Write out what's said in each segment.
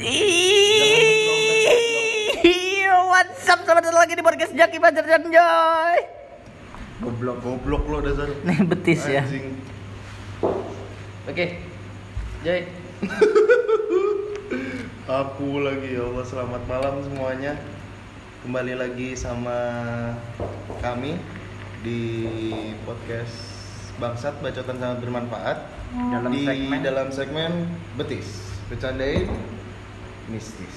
Iya, up? Selamat datang lagi di podcast Jaki Banjar dan Joy. Goblok goblok lo dasar. Nih betis ya. Anjing. Oke. Joy. Aku lagi ya Allah selamat malam semuanya. Kembali lagi sama kami di podcast Bangsat Bacotan Sangat Bermanfaat Dalam di segmen. dalam segmen betis bercandain mistis.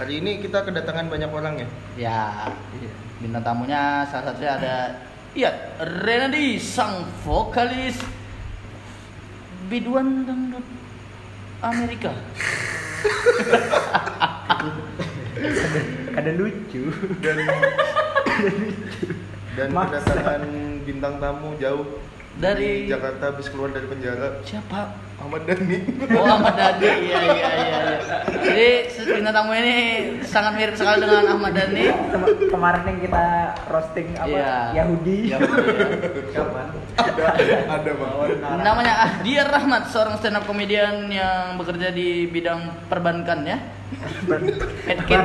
Hari ini kita kedatangan banyak orang ya. Ya. Bintang tamunya salah satunya ada Iya, Renadi sang vokalis biduan dangdut Amerika. Ada lucu. Dan dan Maksa. kedatangan bintang tamu jauh Dari- di Jakarta habis keluar dari penjara Siapa? Ahmad Dhani. Oh Ahmad Dhani, iya iya iya. iya. Jadi bintang tamu ini sangat mirip sekali dengan Ahmad Dhani. Kema- kemarin yang kita roasting apa Iya. Yahudi. Yahudi, ya. Kapan? ada ada bawaan Namanya Ahdiar Rahmat, seorang stand up comedian yang bekerja di bidang perbankan ya. Medkit.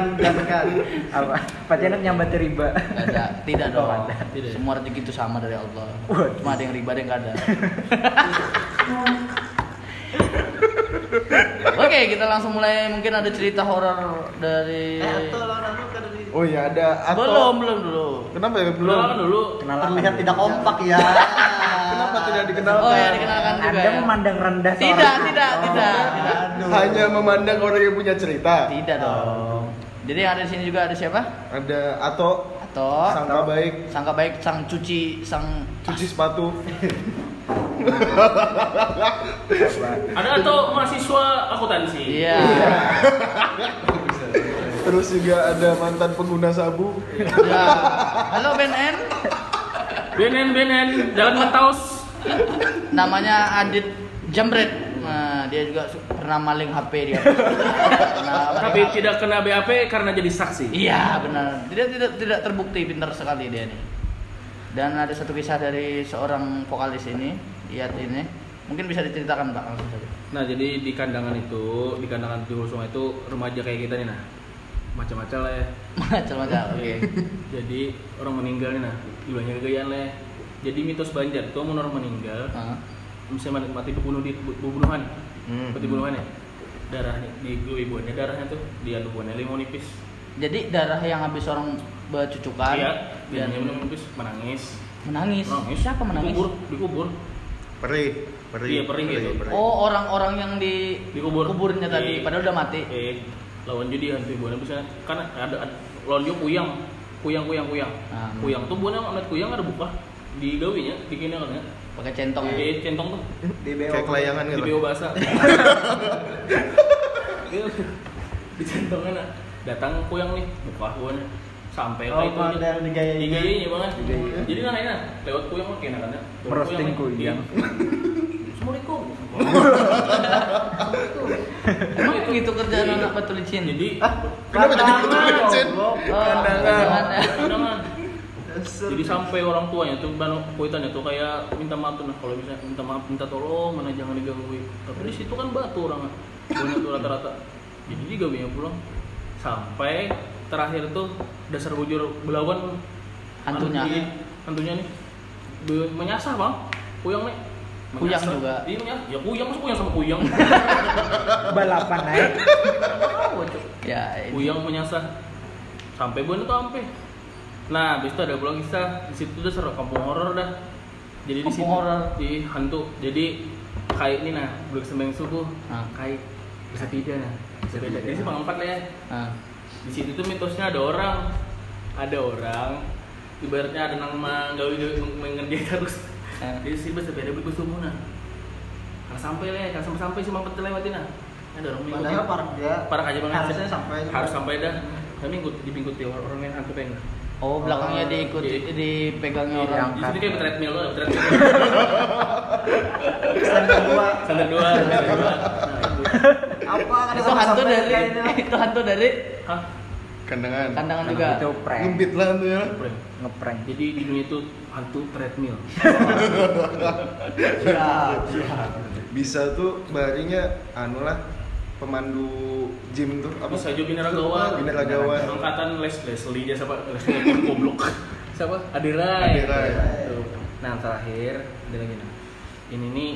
apa? Pacaran nyambat riba. Nggak ada, tidak Oh, dong. ada. Tidak. Semua rezeki itu sama dari Allah. Waduh. Cuma ada yang riba ada yang nggak ada. Oke, kita langsung mulai. Mungkin ada cerita horor dari oh iya ada atau belum belum dulu. kenapa ya belum dulu Kenalan terlihat dulu. tidak kompak ya. kenapa tidak dikenalkan Oh iya, ya dikenalkan juga. Anda ya. memandang rendah Oh. seorang- Tidak, tidak, tidak, tidak. Aduh. hanya memandang orang yang punya cerita Tidak dong. Jadi yang ada di sini juga ada siapa? ada atau Atau sangka baik sangka baik sang cuci sang cuci sepatu Ada atau mahasiswa akuntansi? iya terus juga ada mantan pengguna sabu Iya. halo Ben N Benen benen jalan mentaus. namanya Adit Jambret nah dia juga su- pernah maling HP dia pernah Tapi maling HP. tidak kena BAP karena jadi saksi. iya benar tidak tidak tidak terbukti pintar sekali dia nih dan ada satu kisah dari seorang vokalis ini Iyat ini mungkin bisa diceritakan pak langsung saja Nah jadi di kandangan itu, di kandangan di Hulu Sungai itu remaja kayak kita nih nah macam-macam lah ya. macam-macam oke Iya. Jadi orang meninggal nih nah, jumlahnya kegayaan lah. ya. Jadi mitos Banjar itu mau orang meninggal, Ah. misalnya mati- mati bunuh di bu- pembunuhan, Hmm. mati bunuhan ya. Darahnya di ibuannya darahnya tuh di aduannya limau nipis. jadi darah yang habis orang bercucukan Iya, dan darahnya limau nipis menangis. menangis. Menangis. siapa menangis Dikubur, dikubur. perih perih Iya, perih gitu. oh orang-orang yang di Dikubur. kuburnya tadi Iya. padahal udah mati eh lawan jadi hantu ibu bisa kan ada, ada- lawan dia kuyang kuyang kuyang kuyang Ah. kuyang tuh buana amat kuyang ada buka di gawinya di kini kan ya pakai centong ya. di centong tuh Di BO. kayak kelayangan di gitu beo bahasa Oh, di centongan nah. datang kuyang nih buka buana sampai Oh, lah itu kalau yang digaya di gayanya banget Digayanya. ya, jadi nah enak lewat kuyang oke nah kan ya Lewat Merosting kuyang, kuyang. iya. Assalamualaikum emang itu gitu kerjaan anak batu licin jadi kan kenapa jadi kutu Kandangan, licin Ah, goblok. Oh, gimana? Kandangan. Jadi sampai orang tuanya tuh bano kuitannya tuh kayak minta maaf tuh nah kalau misalnya minta maaf minta tolong mana jangan digangguin. Tapi di situ kan batu orang banyak tuh rata-rata. Jadi digawinya pulang sampai terakhir tuh dasar bujur belawan Hantunya. Iya, hantunya nih Be- menyasar bang kuyang nih Kuyang Menyasar. juga. iya menyasar. ya kuyang masa kuyang sama kuyang Balapan naik. Tahu, Cok. ya ini. Uyang menyasar sampai gue tuh sampai. Nah, habis itu ada pulang kisah di situ udah seru kampung horor dah. Jadi di Kampung situ horor. di hantu. Jadi kayak ini nah, belum sembang subuh. Ah. Kayak bisa beda nah. Bisa beda. Jadi simpang empat lah ya. Ah. Di situ tuh mitosnya ada orang. Ada orang ibaratnya ada nang manggawi mengerjain terus. Ah. Jadi sih bisa beda beli subuh nah. Karena sampai lah, ya, karena sampai sampai simpang empat lewatin nah. Ada orang mengikuti Padahal ya, parah dia. parah aja banget Harusnya sampai. harus sampai dah kami ikut diikuti orang orang yang hantu pengen oh belakangnya Oh, diikuti iya. dipegangnya orang di sini kayak treadmill loh treadmill Pesan kedua. sandal dua sandal dua nah, itu. Apa kan itu sama hantu sampai dari kayak ini? itu hantu dari Hah? kandangan kandangan Kandangan juga Itu prank. ngempit lah tuh ya Prank. Ngeprank. jadi di dunia itu hantu treadmill Ya, ya. Iya. bisa tuh barinya anu lah pemandu gym tuh apa? Bisa juga Binaragawan. Binaragawan. Angkatan Les Leslie dia siapa? Leslie goblok. Siapa? Adirai. Adirai. Tuh. Nah terakhir ada lagi nih. Ini nih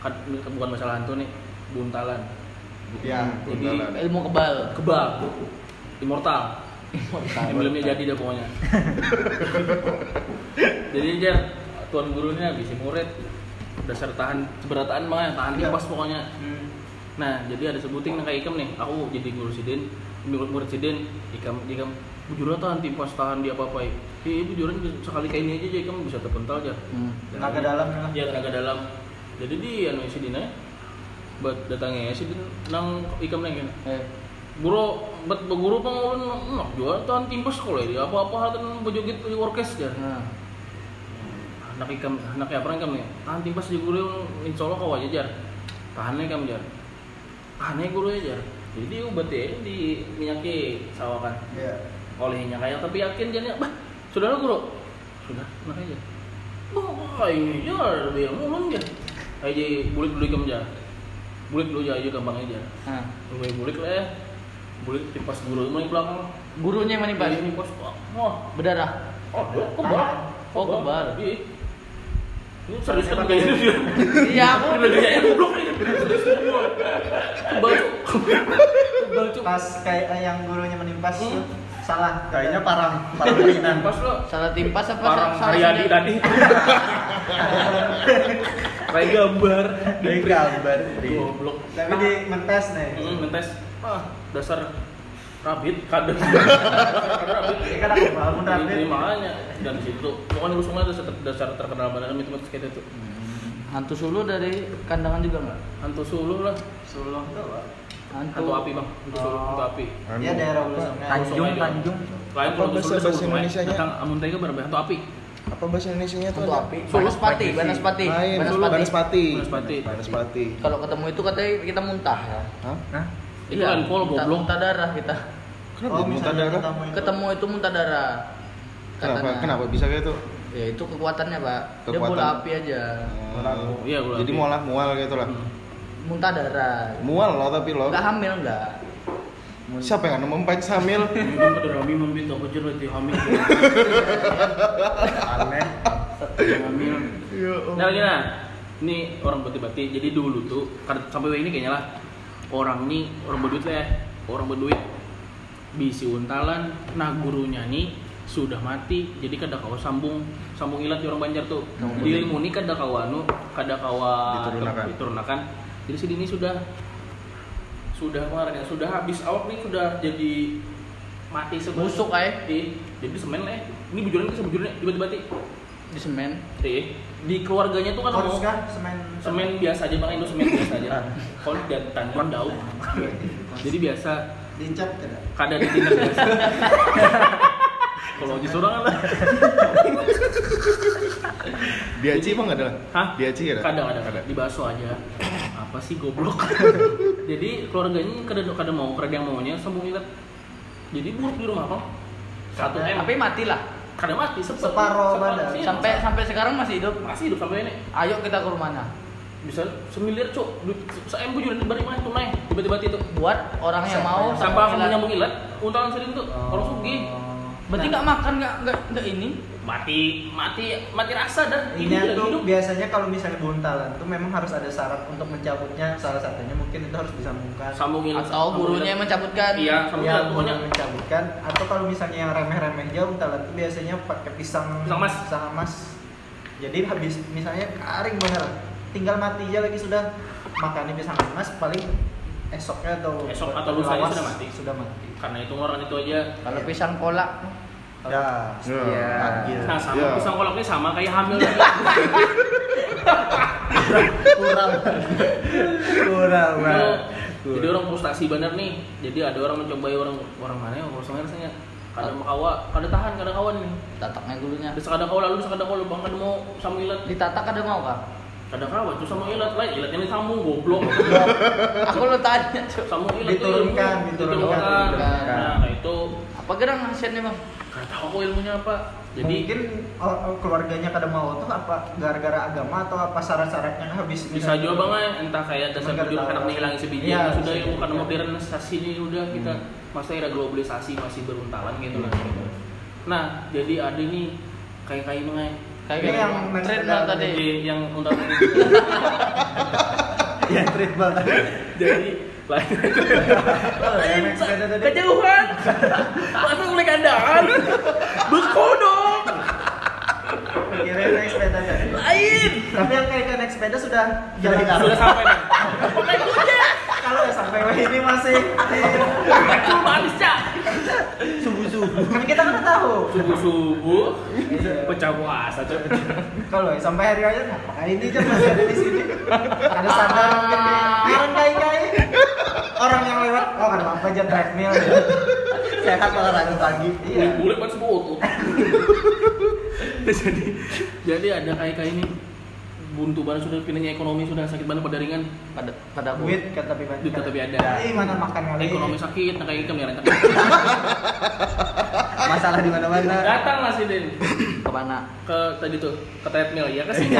kan- bukan masalah hantu nih, buntalan. Ya, Jadi, buntalan. ilmu kebal Kebal. Immortal. Emblemnya jadi dah pokoknya. Jadi dia tuan gurunya bisa murid dasar tahan seberataan makanya tahan kipas pokoknya. Nah, jadi ada sebuting nang kayak Ikam nih. Aku jadi guru sidin, guru murid sidin, Ikam Ikam bujurnya tahan kipas tahan dia apa-apa. Iya, bujurnya sekali kayak ini aja jadi Ikam bisa terpental aja. Hmm. Tenaga dalam ya. Iya, tenaga dalam. Jadi dia anu sidin aja. Buat datangnya sidin nang Ikam nang kene. Eh, Bro, bet beguru pengulun nak jual tahan timpas sekolah dia apa-apa hal tan bejoget di orkes ya. nah. Anak ikam, anak apa ikam ya? Tahan timpas di guru insya Allah kau aja jar. Tahannya ikam jar. Tahannya guru aja jar. Jadi ubat ya di minyaki sawakan Iya. olehnya kayak tapi yakin dia nya, bah saudara guru sudah mana aja oh ini jar dia ngulun dia aja bulik dulu ikam jar bulik dulu aja gampang aja Nah. Mulai bulik lah ya. Bulik tipas guru mulai belakang. Gurunya yang menimpa. Ini pos. Wah, Berdarah. oh, kebal. Oh, kebal. Iya. Ini serius kan kayak gitu. Iya, aku Udah kayaknya goblok nih. Serius kan gua. Kebal cuk. Kebal cuk. Pas kayak eh, yang gurunya menimpas Hmm. tuh, salah. Kayaknya parang, parang Kebal mainan. pas lo. salah timpas apa Parang salah Haryadi sendiri? tadi. Kayak gambar. Dari gambar. Goblok. Tapi di mentes nih. Hmm, Mentes. Ah, dasar rabit kadang. Ini Rabit. kan aku bangun Jadi rapid. ini makanya dan di situ pokoknya gue semuanya dasar, dasar terkenal banget itu mas kayak itu Hantu sulu dari kandangan juga nggak? hantu sulu lah Sulung tuh. Pak. Hantu, hantu api bang hantu sulu Oh. hantu api Iya daerah ulu sungai. Tanjung. Tanjung. lain Apa kalau hantu sulu bahasa- bahasa dasar rumah Indonesianya? datang amun tega berapa hantu api Apa bahasa Indonesia-nya tuh? hantu ada? api, Sulu. banaspati, banaspati, Lain, banaspati. Banaspati. Banaspati. Banaspati. Kalau ketemu itu katanya kita muntah ya. Hah? Nah itu Iya. kan kol muntah- goblok Muntah darah kita. Oh, Kenapa muntah misalnya darah? Oh, ketemu itu. Ketemu itu muntah darah. Kenapa? Katanya. Kenapa bisa kayak gitu? itu? Ya itu kekuatannya pak. Dia Kekuatan. bola api aja. Oh. Iya, bola Jadi api. mualah mual gitu lah. Hmm. Muntah darah. Mual lo tapi lo. Enggak hamil enggak? Siapa yang nemu empat samil? Mungkin pada Rami memimpin toko jeruk di hamil. aneh. Hamil. Nah, lagi nah. Ini orang bati-bati. Jadi dulu tuh kar- sampai ini kayaknya lah orang nih orang berduit lah ya. Orang berduit bisi untalan nah gurunya nih sudah mati jadi kada kawa sambung sambung ilat di orang Banjar tuh Sambung di ilmu ini kada kawa anu kada kawa Diturunakan. diturunakan. jadi sini ini sudah sudah kemarin ya sudah habis awak nih sudah jadi mati sebelum Busuk aja Iya, jadi semen eh ini bujuran itu sebujuran ya, tiba-tiba ti di semen. Iya. di keluarganya tuh kan Korus mau kah? Semen. semen biasa aja bang Indo semen biasa aja kon dan tanjung daun jadi biasa Dicat tidak? kada di tindak biasa kalau di sorangan lah Diaci emang ada lah. Hah? Kan. Diaci ada. kadang ada di baso aja apa sih goblok jadi keluarganya kada kada mau kada yang maunya sambung ilat jadi buruk di rumah bang satu m Tapi matilah. kada mati sepet- Separoh sepet- badan. iya, Sampai sampai sekarang masih hidup. masih hidup sampai ini Ayo kita ke rumahnya. bisa semilir cok duit saya bujuran di mana tunai tiba-tiba itu Buat orang yang Siapa mau yang- sampai aku ilat. menyambung ilat untalan sering tuh orang sugi Oh. Nah. Berarti nggak makan nggak nggak nggak ini. mati mati mati rasa dan ini Ini tidak tuh Iya, hidup Iya, biasanya kalau misalnya buntalan tuh memang harus ada syarat untuk mencabutnya salah satunya mungkin itu harus disambungkan sambung ilat Atau sambung gurunya yang ilat. mencabutkan. iya sambung ilat ya pokoknya pokoknya mencabutkan atau kalau misalnya yang remeh-remehnya untalan tuh biasanya pakai pisang Pisang emas. pisang emas. jadi habis misalnya karing bener tinggal mati aja lagi sudah makannya pisang emas paling esoknya atau Esok atau lusanya lawas sudah mati. sudah mati karena itu orang itu aja Iya. Kalau pisang kolak ya Iya. Takjil. nah sama Iya. pisang kolaknya sama kayak hamil Nah, lagi kurang kurang Kalau- jadi orang frustasi bener nih jadi ada orang mencobai orang orang mana ya orang Sungai rasanya kadang kawa kada tahan kada kawan nih Nah, tataknya gurunya. ada sekadang kawa lalu sekadang kawa bang kada mau sambung ilat Ditatak ada mau kah? kadang kawa tuh sama ilat lain ilat ini sambung goblok Aku lo tanya. Cuk. Sambung ilat tuh Diturunkan, ilmu. diturunkan, diturunkan. diturunkan. Nah, itu Apa gerang nasihatnya bang? Gak tahu aku ilmunya apa. Jadi mungkin o- o- keluarganya kada mau tuh apa gara-gara agama atau apa syarat-syaratnya habis Gitu. bisa juga bang ya, entah kayak dasar Mereka hidup tahu. anak menghilangi sebiji Iya, sudah bisa ilmu jadi. karena modernisasi ini udah Hmm. kita masa era globalisasi masih beruntalan gitu lah. Iya, Nah jadi ada nih kayak kayak mengai Ini yang next tren ada- bang tadi. jadi yang undang ya treatment jadi lain yang next ada ya, tadi. kejauhan langsung mulai kandang berkodok kira naik sepeda tadi lain tapi yang kayak kayak naik sepeda sudah jalan Sudah- sudah sampai nih kalau ya sampai ini masih aku manis cak kan kita kan tahu subuh subuh pecah puasa Cak. kalau ya sampai hari raya ngapain ini aja masih ada di sini ada sadar mungkin orang kayak kayak orang yang lewat oh kan apa aja treadmill Saya kan olahraga pagi. iya boleh buat sebuah otot. jadi jadi ada kayak kayak ini buntu banget sudah pindahnya ekonomi sudah sakit banget pada ringan Pada pada aku. duit kan tapi banyak Duit kan tapi ada. Eh, mana makan kali ekonomi sakit nah kayak ikan merah Masalah di mana-mana. datang lah si Den Kemana? ke tadi tuh ke treadmill ya ke sini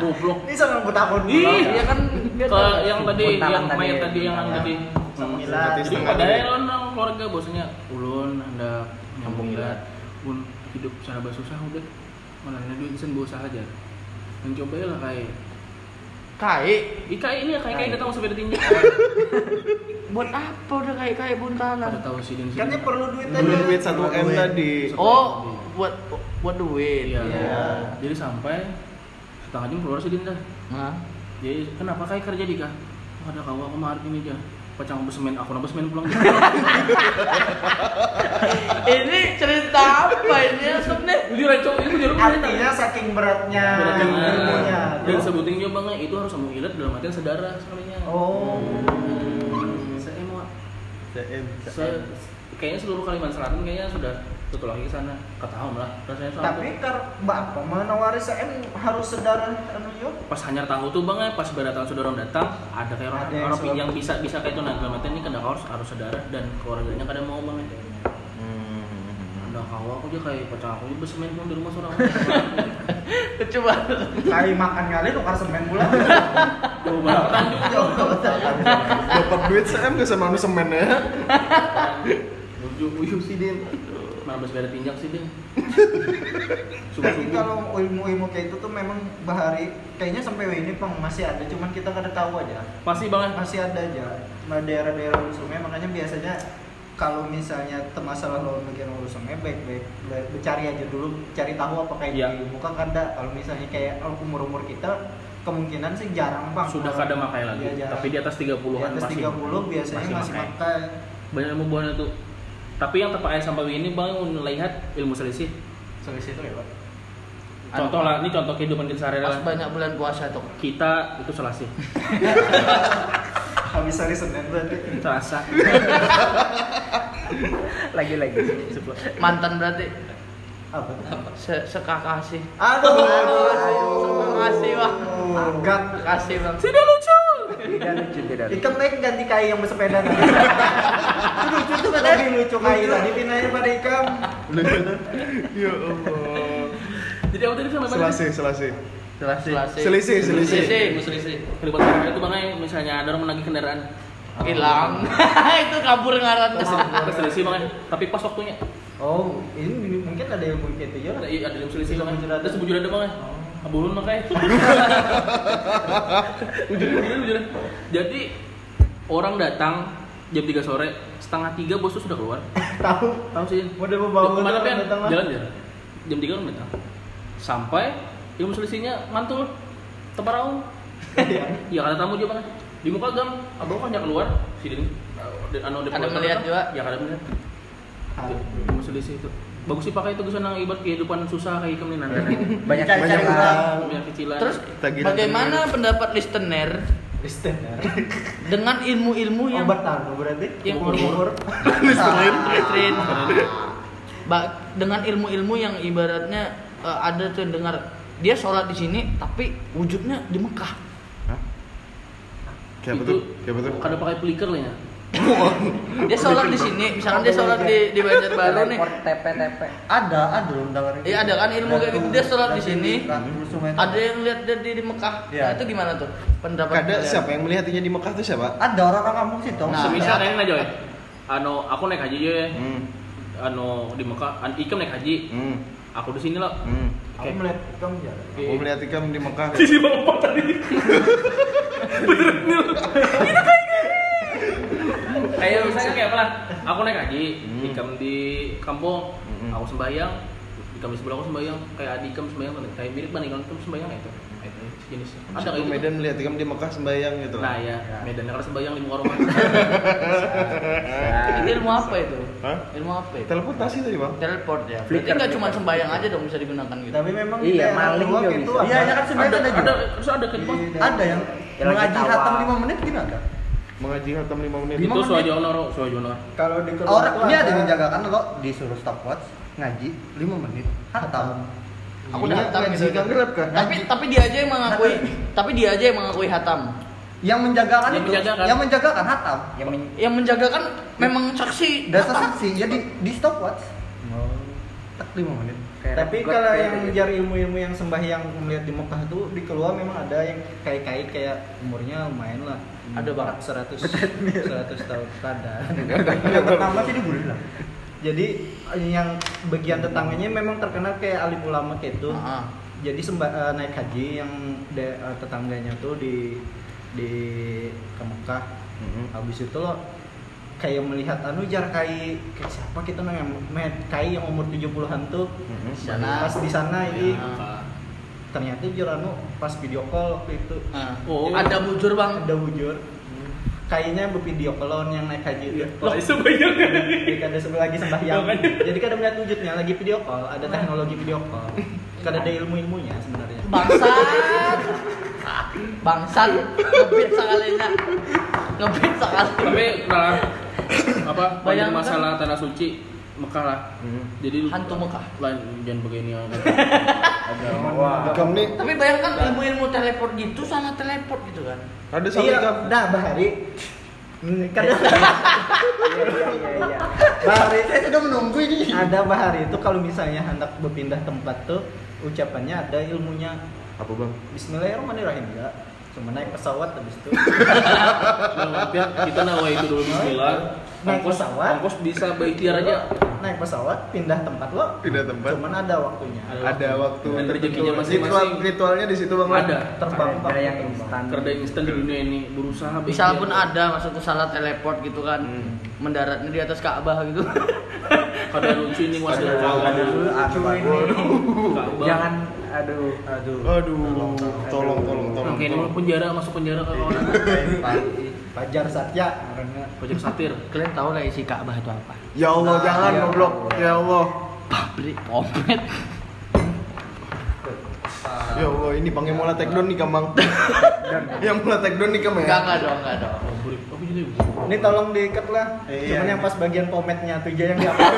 goblok ini sama buta tahun Ih, pulang. iya kan ke yang tadi Buntalan yang tadi, main tadi yang buntalan. tadi Sama Hmm. Milan. jadi Setengah pada duit. elon sama keluarga bosnya ulun anda Kampung nyambung Milan. lah pun hidup serba susah udah mana ada duit sen bawa usaha aja dan cobain lah kayak Kai. Ika ini ya kayak kayak datang sampai tinggi. Buat apa udah kayak kayak buntalan? Ada tahu sih dan Katanya perlu duit aja. Beli duit 1 m Duit. tadi. Oh, buat buat duit. Iya. Iya. Jadi sampai setengah jam keluar sih Din, dah. Nah, Jadi kenapa kayak kerja di kah? Oh, ada kau aku kemarin ini aja. Pacang bersemen aku nabas semen pulang. ini cerita apa ini maksudnya? Jadi rencong itu jadi artinya saking beratnya Berarti, nah, ilmunya Dan sebutin juga bang itu harus sama ilat dalam artian sedara sekalinya. oh Saya mau CM. se- kayaknya seluruh Kalimantan Selatan kayaknya sudah tutup lagi ke sana. Ketahun lah rasanya soal tapi ter apa menawari CM harus sedara anu yo pas hanyar tahu tuh bang ya pas berdatang saudara orang datang ada kayak orang, Ada yang orang selalu- yang bisa bisa kayak itu nah dalam artian ini kan harus harus saudara dan keluarganya kadang mau bang ya Hmm. nah kalau aku aja kayak pacar aku aja bersemen pun di rumah seorang Coba. kali makan kali tukar semen pula jauh banget tanjung Dapat duit CM ke sama semen ya. ujuk ujuk sih din malah bas bayar Nah, tinjak sih din subuh tapi subuh kalau ilmu-ilmu kayak itu tuh memang bahari kayaknya sampai ini pang masih ada cuman kita kada tahu aja pasti bang ya? masih ada aja nah daerah-daerah hulu sungai makanya biasanya kalau misalnya te- masalah lawan bagian hulu sungai baik-baik baik- cari aja dulu cari tahu apa kayak Iya. di muka kada kalau misalnya kayak umur umur kita kemungkinan sih jarang bang eh, sudah kada makai lagi Iya, jarang. tapi di atas 30-an Di atas pasti 30 biasanya Masih masih, makai. makai banyak ilmu buahnya tuh tapi yang terpakai sampai ini bang melihat ilmu selisih solusi itu lewat contoh lah ini contoh kehidupan kita sehari-hari Pas lah. banyak bulan puasa tuh. kita itu selasih habis hari senin Iya. berarti terasa Lagi-lagi. Mantan berarti apa tuh? se sekakasih. aduh Aduh, makasih, Bang. Gat. Kasih bang. tidak lucu Tidak lucu, tidak lucu. Itu naik ganti kayu yang bersepeda tadi. Itu lucu tuh kan lebih lucu kayu tadi pinanya pada ikam. Ya Allah. jadi aku tadi sampai mana? Selasih, selasih. Selasih. Selisih, selisih. Ilmu selisih. Kelibatan mereka itu bang ya, misalnya ada orang menagih kendaraan Hilang. Itu kabur ngaran ke Ah. Ke selisih bang ya. tapi pas waktunya Oh, ini mungkin ada yang mungkin itu ya. ada iya, ada ilmu selisih bang Bujur ya. ada. terus bujur ada bang ya abulun makanya bujur bujur bujur jadi orang datang jam 3 sore setengah tiga bos tuh sudah keluar Tahu tahu sih model membawa Dia kemana motor Pian? datang lah. jalan jalan jam 3 orang datang sampai ilmu selisihnya mantul teparau Iya. Iya karena tamu dia banget. Di muka gam, abang kan yang keluar, si Din. Dan anu Ada melihat juga? Ya Ah. kadang melihat. Itu selisih itu. Bagus sih pakai itu kesan yang ibarat kehidupan susah kayak kami nanti. Banyak Cari- banyak cari orang. Punya kecilan. Terus Tagihan bagaimana pendapat listener Listen. dengan ilmu-ilmu yang Obat nano berarti. Yang umur-umur. Listenin. ya. Catherine. Ba- dengan ilmu-ilmu yang ibaratnya eh, ada tuh yang dengar dia sholat di sini tapi wujudnya di Mekah. Kayak betul, kayak betul. Kada pakai pliker lah ya. dia sholat di sini, misalkan dia sholat di di Banjarbaru nih. Teleport TP-TP. Ada, ada loh undangan itu. Iya, ada kan ilmu kayak gitu. Dia sholat di sini. Ada Ada yang lihat dia di, di Mekah. Iya. Nah, itu gimana tuh? Pendapat Kada kalian? siapa yang melihatnya di Mekah tuh siapa? Ada orang kampung situ. Nah. Semisal kayak aja ya. Anu aku naik haji ya. Hmm. Anu di Mekah, an Ikam naik haji. Hmm. Aku di sini lah. Hmm. Aku Oke. melihat kamu ya. Gitu. Aku melihat ikam di Mekah. Sisi bapak tadi. Beneran Nil. Kayak misalnya kayak apa lah? Aku naik haji, Hmm. ikam di kampung, Hmm. aku sembahyang, ikam di sebelah aku sembahyang, kayak adik ikam sembahyang, kayak mirip banget ikam ikam sembahyang ya, itu. Itu sejenisnya. Ada Ada kayak gitu. Medan melihat ikam di Mekah sembayang gitu. Nah ya, Medan karena sembahyang lima orang. Itu ilmu apa itu? Hah? Ilmu apa itu? Teleportasi tadi, Bang. Teleport ya. Berarti Flicker, nggak cuma flicker. sembayang aja dong bisa digunakan gitu. Tapi memang Iya, daerah gitu, maling Luwak juga itu bisa. apa? Iya, kan Ada, ada, terus ada kan bang. Di- Ada yang Yang lagi mengaji tawa. khatam 5 menit gini ada. Mengaji khatam 5 menit. Itu suajono, suajono. Kalau di Keluak Orang tuh ini ada yang menjaga kan lo disuruh stopwatch ngaji 5 menit khatam. Aku udah hatam gitu. Ikam Iya, gelap kan. Tapi tapi dia aja yang mengakui, tapi dia aja yang mengakui hatam. Yang menjagakan Yang itu, menjagakan. yang menjagakan hatam. Yang Yang menjaga kan memang saksi. dasar hatam. saksi jadi di stopwatch Oh. tak 5 menit. Kayak Tapi repot, kalau kayak yang gitu. ngejar ilmu-ilmu yang sembahyang melihat di Mekah tuh di keluar memang ada yang kayak-kayak kayak umurnya lumayan lah. Ada banget. 100 100 tahun ada. yang pertama sih di lah. Jadi yang bagian tetangganya memang terkenal kayak alim ulama kayak itu. Ah, Jadi sembah eh, naik haji yang de- eh, tetangganya tuh di di ke Mekah. Mm-hmm. Habis itu lo kayak melihat anu jar kai kayak siapa kita namanya Med- kai yang umur 70-an tuh Hmm, Di sana. pas di sana ini Ya. Nah. ternyata Jorano pas video call waktu itu Ah. Oh. Ada bujur bang. ada wujud Mm-hmm. kayaknya bervideo callon yang naik Iya. haji itu Lah sembahyang. Jadi ada sebelah lagi sembahyang kan? Makanya. jadi kada melihat wujudnya lagi video call ada teknologi video call kada ada ilmu ilmunya sebenarnya Bangsat. Bangsat. Ngebit sekalinya. Ngebit sekali. Tapi nah, apa? Banyak Bayangkan. masalah tanah suci Mekah lah. Hmm. Jadi Hantu Mekah. lain jangan begini ya. Ikam nih Tapi bayangkan ilmu-ilmu teleport gitu sama teleport gitu kan. ada sama iya ikam. dah bahari Hmm, kada Iya, iya, iya, iya. bahari Saya sudah menunggu ini. ada bahari itu kalau misalnya hendak berpindah tempat tuh ucapannya ada ilmunya Apa, Bang? Bismillahirrahmanirrahim enggak cuma naik pesawat habis itu kita nawa itu dulu bismillah. Nah, Naik Ongkos pesawat. ongkos bisa berikhtiar aja. naik pesawat pindah tempat lo Pindah tempat. cuman ada waktunya Ada waktu Dan tertentu. rezekinya Ritual, masing-masing. ritualnya di situ, Bang. Ada. terbang Ada yang terbang. instan. Kerja instan di dunia ini berusaha. Misal berikhtiar. pun ada maksudku salah teleport gitu kan. Hmm. Mendaratnya di atas Ka'bah gitu. Kada lucu ini wadah. Aduh, aduh, aduh, Ka'bah. Jangan aduh, aduh. Aduh, tolong tolong tolong. Oke, ini mau penjara masuk penjara kalau orang Pajar Satya orangnya pojok satir. Kalian tahu lah isi Ka'bah itu apa? Ya Allah, Ah, jangan ya goblok. Allah. Ya Allah. Pabrik Oh, komplit. Ya Allah, ini Bang yang mulai take down nih, Kang, Bang. Yang mulai take down nih, Kang, Enggak ya. enggak dong, enggak dong. Oh, burik. Aku jadi ini tolong diikat lah Iya. cuman yang pas bagian pometnya tuh aja yang diangkat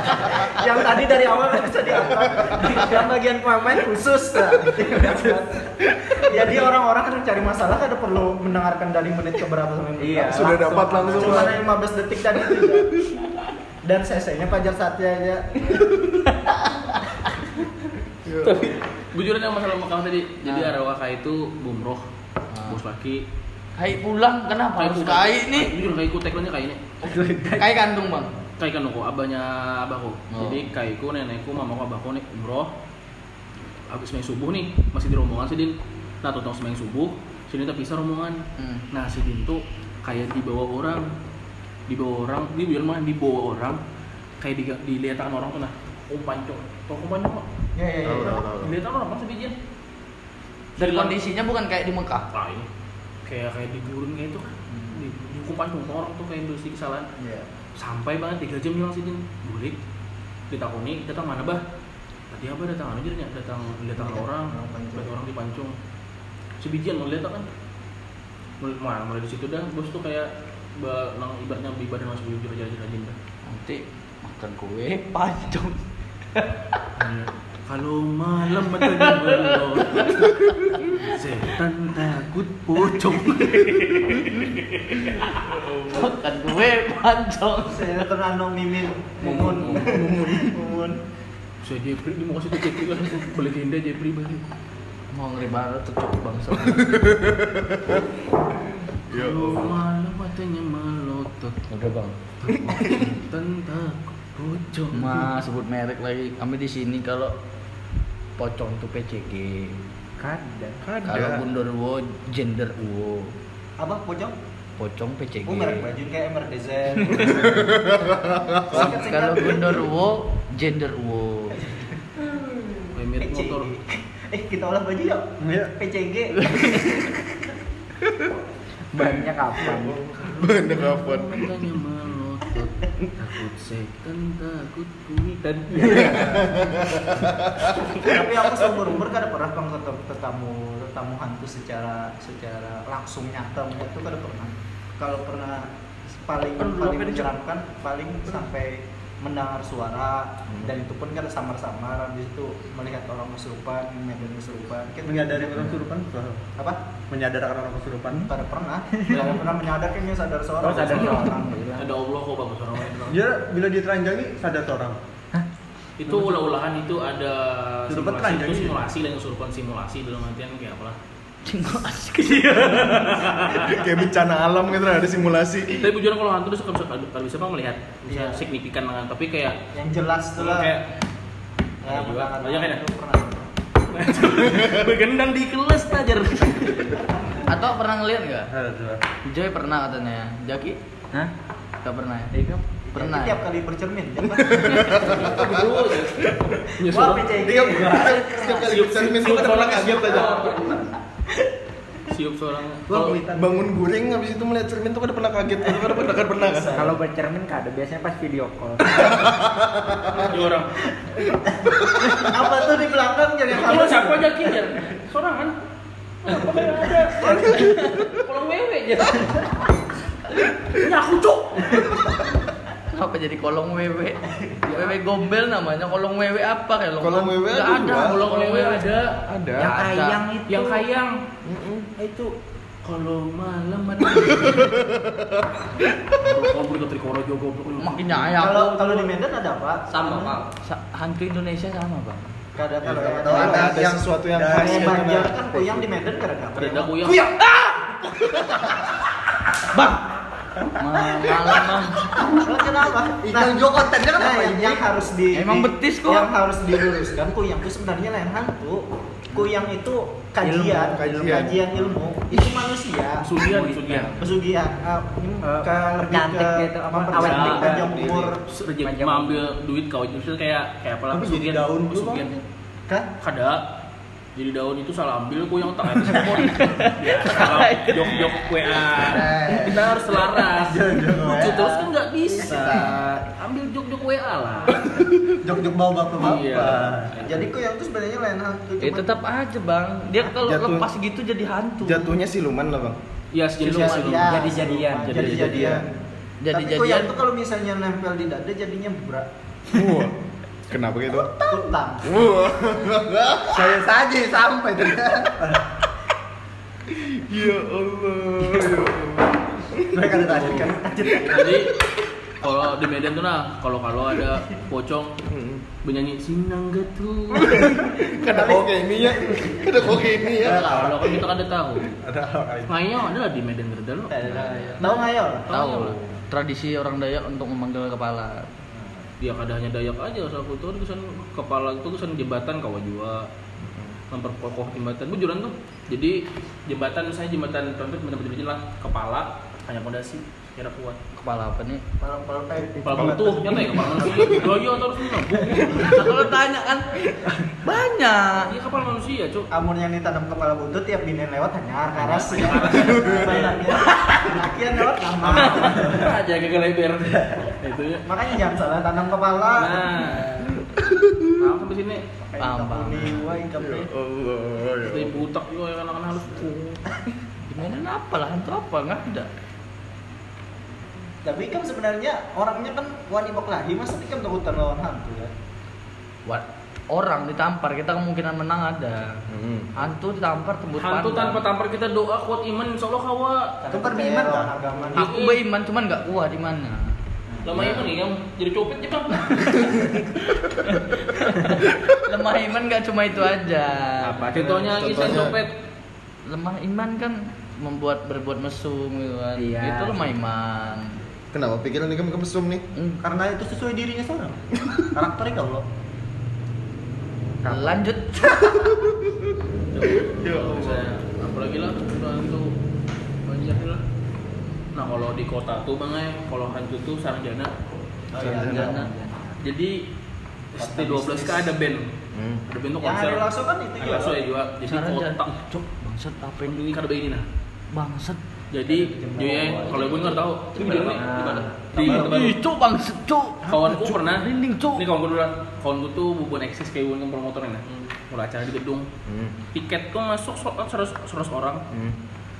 yang tadi dari awal nggak bisa diangkat yang bagian pomet khusus lah jadi orang-orang kan cari masalah kan ada perlu mendengarkan dari menit ke berapa sampai menit Iya, berapa. Sudah dapat langsung. cuma 15 detik tadi itu aja. dan cc-nya Pajar Satya aja Ya tapi bujuran yang masalah Mekah tadi jadi Ah. Arawaka itu bumroh bos laki Kai pulang kenapa harus pulang. kai nih? jujur kai ku tagline-nya kai ini Kai kandung, Bang. kai kan aku abahnya abahku Oh. jadi kai ku nenekku mamaku abahku nih umroh habis main subuh nih masih di rombongan si Din nah tuh sembahyang subuh sini tapi bisa rombongan Hmm. nah si Din tuh kayak dibawa orang dibawa orang di Birman dibawa orang kayak di, dilihatkan orang tuh nah kumpancong tau kumpancong Pak? ya ya ya Tahu, tahu, tahu. dilihatkan orang kan sebijin Dan Hilang. kondisinya bukan kayak di Mekah. Nah, ini kayak kayak digurun kayak itu kan. Di hukuman tuh orang tuh kayak industri kesalahan. Iya. Sampai banget 3 jam hilang sini. Bulik. Ditakoni, datang mana, Bah? Tadi apa datang anu aja nih, datang datang Iya. orang, Orang Pancung. lihat orang di Pancung. Sebijian ngeliat kan. Mulai mulai- mulai di situ dah, bos tuh kayak ba- nang ibaratnya ibadah masuk bujur aja aja aja. Nanti makan kue pancung. Kalau malam matanya melot Setan takut pocong Makan kue Pancong. Saya kena nong mimin, mumun, mumun, mumun. Saya Jepri, dia mau kasih tuh Jepri kan Beli tenda Jepri balik Mau ngeri banget tuh cok bangsa. Ya Kalau malam matanya melotot Udah bang. Tentang pocong Mas sebut merek lagi. Kami di sini kalau pocong tuh PCG. Kada. Kalau Gundorwo gender uwo. Apa pojok? Pocong PCG. Oh merek baju kayak MRDZ. Kalau Gundorwo gender uwo. Kayak mirip motor Eh kita olah baju yuk. Iya. PCG. Banyak kapan? Banyak kapan? Matanya melotot Takut setan takut kuitan Tapi aku seumur umur kada pernah pang ketemu tetamu tetamu hantu secara secara langsung nyata itu kada pernah. Kalau pernah paling Aduh, paling apa ini, Cok? menyeramkan paling sampai mendengar suara dan itu pun kan kada samar-samar habis itu melihat orang kesurupan, medan kesurupan. Kan- Menyadari orang kesurupan susah. apa? Menyadarkan orang kesurupan. Kada pernah. Kada pernah menyadarkannya sadar seorang. Oh, sadar seorang. Ada Allah kok bang orang lain Bang. Dia Ya, bila diteranjangi sadar seorang. Itu ulah-ulahan itu ada Kesurupan simulasi itu telanjang. simulasi dan kesurupan simulasi dalam artian kayak apalah Cinggo asik. Kayak bencana alam gitu ada simulasi. Tapi jujur kalau hantu itu suka bisa kalau bisa bang melihat bisa Iya. signifikan dengan tapi kayak Yang jelas tuh lah. kayak Ya, Ada juga. mendengar Banyak kan ya? itu pernah. begendang di kelas tajar. Atau pernah ngeliat nggak? Sadar seorang. Joy pernah katanya. Jaki? Hah? Gak pernah ya? Iya kan? Pernah. Jadi ya? tiap kali bercermin. Bro, ya. Ya, Wah, suara- PCG. Dia setiap kali cermin tuh kadang orang kaget aja. Siup seorang. Gua Kalau kuitan. Bangun guring habis itu melihat cermin tuh kadang pernah kaget. Itu kadang pernah kadang pernah kan? Kalau bercermin kada biasanya pas video call. ya orang. Apa tuh di belakang jadi Kalau Iya, siapa aja kijar? Seorang kan. Apa kayak ada? Kalau wewe aja. Ya aku cuk. Kenapa jadi kolong wewe? Wewe gombel namanya. Kolong wewe apa kayak lo? Kolong wewe Nggak ada. ada dua. Kalau Kolong wewe wewe ada. ada. Ada. Ya, Iya. ada. Kayang itu. Yang kayang Mm-mm. itu kalau malam ada. Goblok trikoro jogo goblok. Makin nyayang. Kalau kalau di Medan ada apa? sama Pak. Sa- hantu Indonesia sama bang. Kada kalau Iya, ada kalau Ada, apa? ada yang- sesuatu yang dari khas Kalau gitu, Banjar nah. kan kuyang di Medan kada ada. Ada kuyang. Kuyang. Malam malam. Nah, Kalau kenapa? Iya. Ikan jo kontennya kan nah, apa yang, ini? iya. yang harus di Emang di- betis kok. Yang harus diluruskan kuyang itu sebenarnya lain hantu. Kuyang itu Ilmu, kajian, kajian. kajian ilmu. Itu manusia. Sudian, sudian. pesugihan uh, ini Eh, ke lebih cantik ke gitu, apa, mempercantik awet muda. panjang umur Rejeki ambil duit kau justru kayak kayak apa lah Tapi jadi pesugihan- daun dulu, pesugihan. Bang. kan kada jadi daun itu salah ambil ku yang tangan semut ya salah jok jok kue Eh, kita harus selaras lucu terus kan nggak bisa ambil jok jok kue lah Jok-jok bawa bapak-bapak. jadi kuyang itu sebenarnya lain hantu Ya tetap aja bang. Dia kalau Jatuh- lepas gitu jadi hantu. Jatuhnya siluman lah bang. ya sejenis Siluman, siluman. ya. Jadi-jadian. jadi jadian Jadi tapi kuyang jadian. itu kalau misalnya nempel di dada jadinya berat Wah, kenapa gitu? kutang Wah, Saya saja sampai tadi. ya Allah, ya Allah. Mereka ada tadi kan. jadi kalau di Medan tuh nah kalau kalau ada pocong bernyanyi sinang getu Kada kok kayak ini ya, kada kok kayak ini ya. kalau kan kita kada tahu Ada orang ngayo ada lah di Medan kerja lo tahu nggak ya Tahu. Tradisi orang Dayak untuk memanggil kepala. dia kada hanya dayak aja asal kultur kesan kepala itu kesan jembatan kawa jua memperkokoh jembatan bujuran tuh jadi jembatan misalnya jembatan contoh jembatan berjenis lah kepala hanya pondasi kira kuat Kepala apa nih? kalau kalau kepala butuh nyata ya kepala manusia gaya terus menabung Nah, kalau tanya kan banyak. iya kepala manusia cuk amun yang ditanam kepala buntut tiap binen lewat hanya karas banyaknya Lakian lewat lama aja gagal lebar itu ya makanya jangan salah tanam kepala nah Nah, sampai sini Kayak Paham, paham. kapuni, wah, Iya. kapuni. Ya Allah, ya dari butak juga kan yang anak-anak halus Gimana apa lah hantu apa nggak ada. Tapi kan sebenarnya orangnya kan wani baklahi, masa dia kan takutan lawan hantu ya? What? orang ditampar kita kemungkinan menang ada Hmm. hantu ditampar tembus Hantu pandang. tanpa tampar kita doa kuat iman insya Allah kawa. Itu beriman kan? Agama. aku beriman cuman nggak kuat di mana Lama ya, iman nih yang jadi copet jepang. lemah iman nggak cuma itu aja Apa? Contohnya kisah Contohnya. copet. lemah iman kan membuat berbuat mesum gitu kan Iya. itu lemah iman Kenapa pikiran ini kamu mesum nih? Mm. Karena itu sesuai dirinya seorang. Karakternya kalau lo. lanjut Ya Coba, Allah. saya. Apalagi lah udah hantu banyak lah. Nah kalau di kota tuh bang eh, kalau hantu tuh sarjana. Oh, Oh, iya, iya, Sarjana. Jadi Kota ST12 bisnis. kan ada band. Hmm. Ada band tuh Yang konser. hari langsung kan itu Hari juga. Lasso ya juga. Jadi Sarjana. kotak. Cuk, bangsat apa yang Ini karena ini nah. bangsat Jadi, jadi kalau gue nggak tahu, itu di mana? Di mana? Di Bandung. itu bangsat cuk kawanku pernah Rinding, Cuk. ini kawanku dulu lah. kawanku tuh bubun eksis kayak bubun promotornya nah Hmm. mulai acara di gedung Hmm. tiket tuh masuk so- 100, 100 orang Hmm.